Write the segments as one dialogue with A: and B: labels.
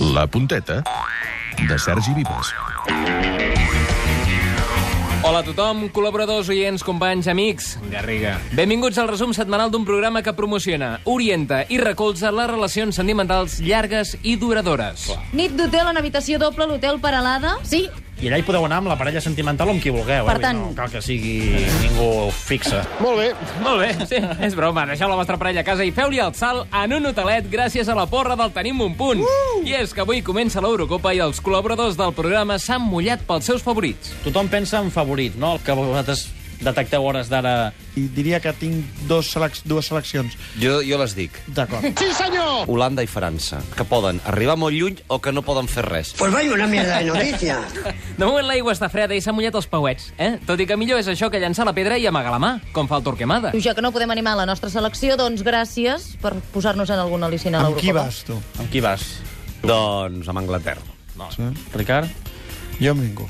A: La punteta de Sergi Vives.
B: Hola a tothom, col·laboradors, oients, companys, amics.
C: Garriga.
B: Benvinguts al resum setmanal d'un programa que promociona, orienta i recolza les relacions sentimentals llargues i duradores.
D: Nit d'hotel en habitació doble a l'hotel Paralada? Sí.
C: I allà hi podeu anar amb la parella sentimental o amb qui vulgueu.
D: Per
C: eh? Vull dir,
D: tant-
C: No cal que sigui ningú fixa.
B: Molt bé. Sí, és broma. Deixeu la vostra parella a casa i feu-li el salt en un hotelet gràcies a la porra del Tenim un punt. Uh! I és que avui comença l'Eurocopa i els col·laboradors del programa s'han mullat pels seus favorits.
C: Tothom pensa en favorit, no? El que vosaltres detecteu hores d'ara...
E: I diria que tinc dos selec dues seleccions.
F: Jo, jo les dic.
E: D'acord.
F: Holanda i França, que poden arribar molt lluny o que no poden fer res.
G: Pues vaya una mierda de noticia.
B: De moment l'aigua està freda i s'han mullat els pauets, eh? Tot i que millor és això que llançar la pedra i amagar la mà, com fa el Torquemada.
D: Ja que no podem animar la nostra selecció, doncs gràcies per posar-nos en algun al·licina a
E: Amb
D: l'Eurocopa.
E: qui vas, tu?
C: Amb qui vas?
F: Doncs amb Anglaterra.
C: Ricard?
E: Jo amb ningú.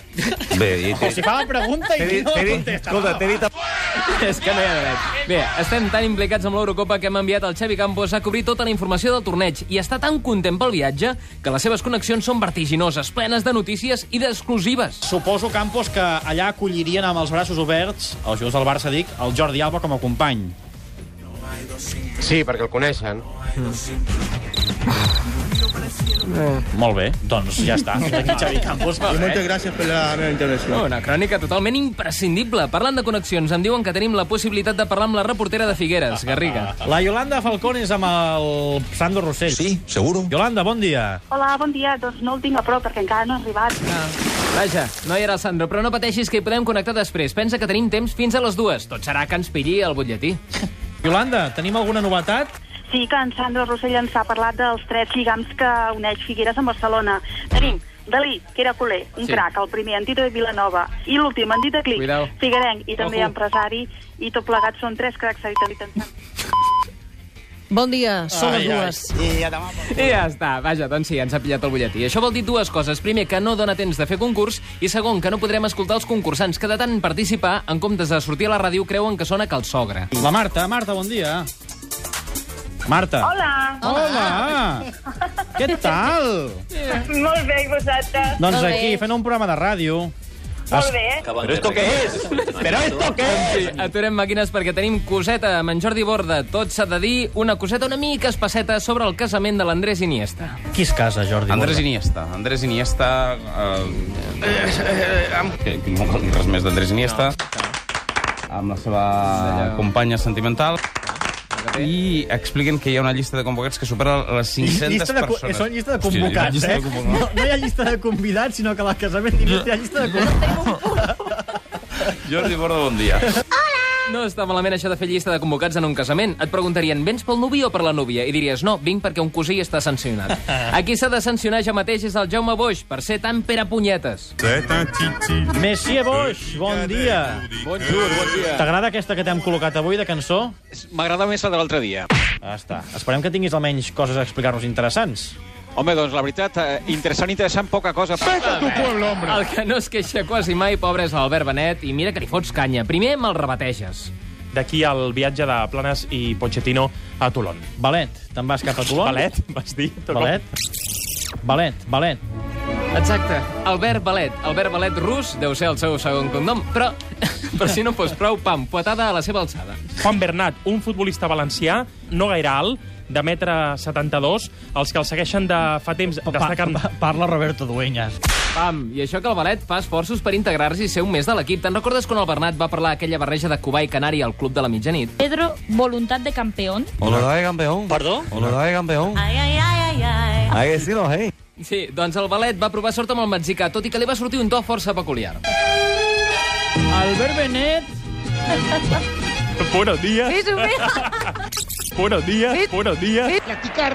F: Bé, i t'he
C: Si fa la pregunta
F: t'he
C: i
F: dit...
C: no
F: t'he dit-
C: contesta.
F: Escolta, t'he dit...
B: És que no hi ha dret. Bé, estem tan implicats amb l'Eurocopa que hem enviat el Xavi Campos a cobrir tota la informació del torneig i està tan content pel viatge que les seves connexions són vertiginoses, plenes de notícies i d'exclusives.
C: Suposo, Campos, que allà acollirien amb els braços oberts, els jugadors del Barça, dic, el Jordi Alba com a company.
H: Sí, perquè el coneixen.
C: Molt bé, doncs ja està. Fins Aquí Xavi Campos. Va, bé.
E: gràcies per la meva intervenció.
B: No, una crònica totalment imprescindible. Parlant de connexions, em diuen que tenim la possibilitat de parlar amb la reportera de Figueres, Garriga.
C: La Yolanda Falcón és amb el Sandro Rossell.
I: Sí, seguro.
C: Yolanda, bon dia.
J: Hola, bon dia. Doncs no el tinc a prop perquè encara no ha arribat.
B: Vaja, no hi era el Sandro, però no pateixis que hi podem connectar després. Pensa que tenim temps fins a les dues. Tot serà que ens pilli el butlletí.
C: Yolanda, tenim alguna novetat?
J: Sí que en Sandro Rossell ens ha parlat dels tres lligams que uneix Figueres amb Barcelona. Tenim Dalí, que era culer,
B: Sí.
J: un sí. crac, el primer antit de Vilanova, i l'últim antit de Clic,
B: Cuidao.
J: Figuerenc, i també
B: Ojo.
J: empresari, i tot plegat són tres cracs habitants.
D: Bon dia, són les
C: Ai, ai.
D: dues.
B: I ja està. Vaja, doncs sí, ens ha pillat el butlletí. Això vol dir dues coses. Primer, que no dona temps de fer concurs, i segon, que no podrem escoltar els concursants que de tant participar, en comptes de sortir a la ràdio, creuen que sona que el sogre.
C: La Marta, Marta, bon dia. Marta.
J: Hola!
C: Hola. Què tal?
J: Molt bé, i vosaltres?
C: Doncs
D: Molt bé.
C: aquí, fent un programa de ràdio. Es-
J: bé.
F: Però esto què és? Però esto què
B: Sí, aturem màquines perquè tenim coseta amb en Jordi Borda. Tot s'ha de dir una coseta una mica espaceta sobre el casament de l'Andrés Iniesta.
C: Qui es casa, Jordi?
I: Andrés
C: Borda?
I: Iniesta. Andrés Iniesta... Eh, eh, no cal dir res més d'Andrés Iniesta. Amb la seva companya sentimental. I expliquen que hi ha una llista de convocats que supera les 500
C: Llista de, co-
I: persones.
C: són llista de
I: Hòstia, hi ha una
C: convocats,
I: llista
C: eh?
I: de convocats.
C: No, no hi ha llista de convidats, sinó que a la casament d'Iniesta hi ha llista de convocats.
I: Jordi Borda, bon dia.
B: No està malament això de fer llista de convocats en un casament. Et preguntarien, vens pel nuvi o per la núvia? I diries, no, vinc perquè un cosí està sancionat. Aquí s'ha de sancionar ja mateix és el Jaume Boix per ser tan pere punyetes.
C: Messier Boix, bon dia.
I: Bonjour, bon dia.
C: T'agrada aquesta que t'hem col·locat avui, de cançó?
H: M'agrada més la de l'altre dia.
C: Ah, està. Esperem que tinguis almenys coses a explicar-nos interessants.
H: Home, doncs la veritat, eh, interessant, interessant, poca cosa. Peta tu pueblo, hombre!
B: El que no es queixa quasi mai, pobre, és l'Albert Benet, i mira que li fots canya. Primer me'l rebateges.
K: d'aquí al viatge de Planes
J: eh?
K: i Pochettino a Toulon.
C: Balet, te'n vas cap a Toulon?
K: Balet, vas dir?
C: Balet. Balet, Balet.
B: Exacte, Albert Balet. Albert Balet rus deu ser el seu segon cognom, però, però si no fos prou, pam, poetada a la seva alçada.
K: Juan Bernat, un futbolista valencià, no gaire alt, de metre 72, els que el segueixen de fa temps destaquen...
C: parla Roberto Dueñas.
B: Pam, i això que el Balet fa esforços per integrar-se i ser un més de l'equip. Te'n recordes quan el Bernat va parlar aquella barreja de Cubà i Canari al Club de la Mitjanit?
J: Pedro, voluntat de campeón.
F: Honorable campeón.
C: Perdó?
F: Honorable campeón.
D: Ai, ai, ai, ai, ai.
F: Ah, que sí, no, hey?
B: Sí, doncs el Balet va provar sort amb el mexicà, tot i que li va sortir un to força peculiar.
C: Albert Benet.
K: Buenos días,
D: Més o menys.
K: buenos días, buenos días.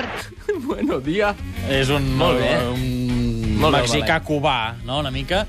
B: bueno, dia.
C: És un,
B: Molt bé.
C: un
B: Molt bé,
C: mexicà cubà, no?, una mica.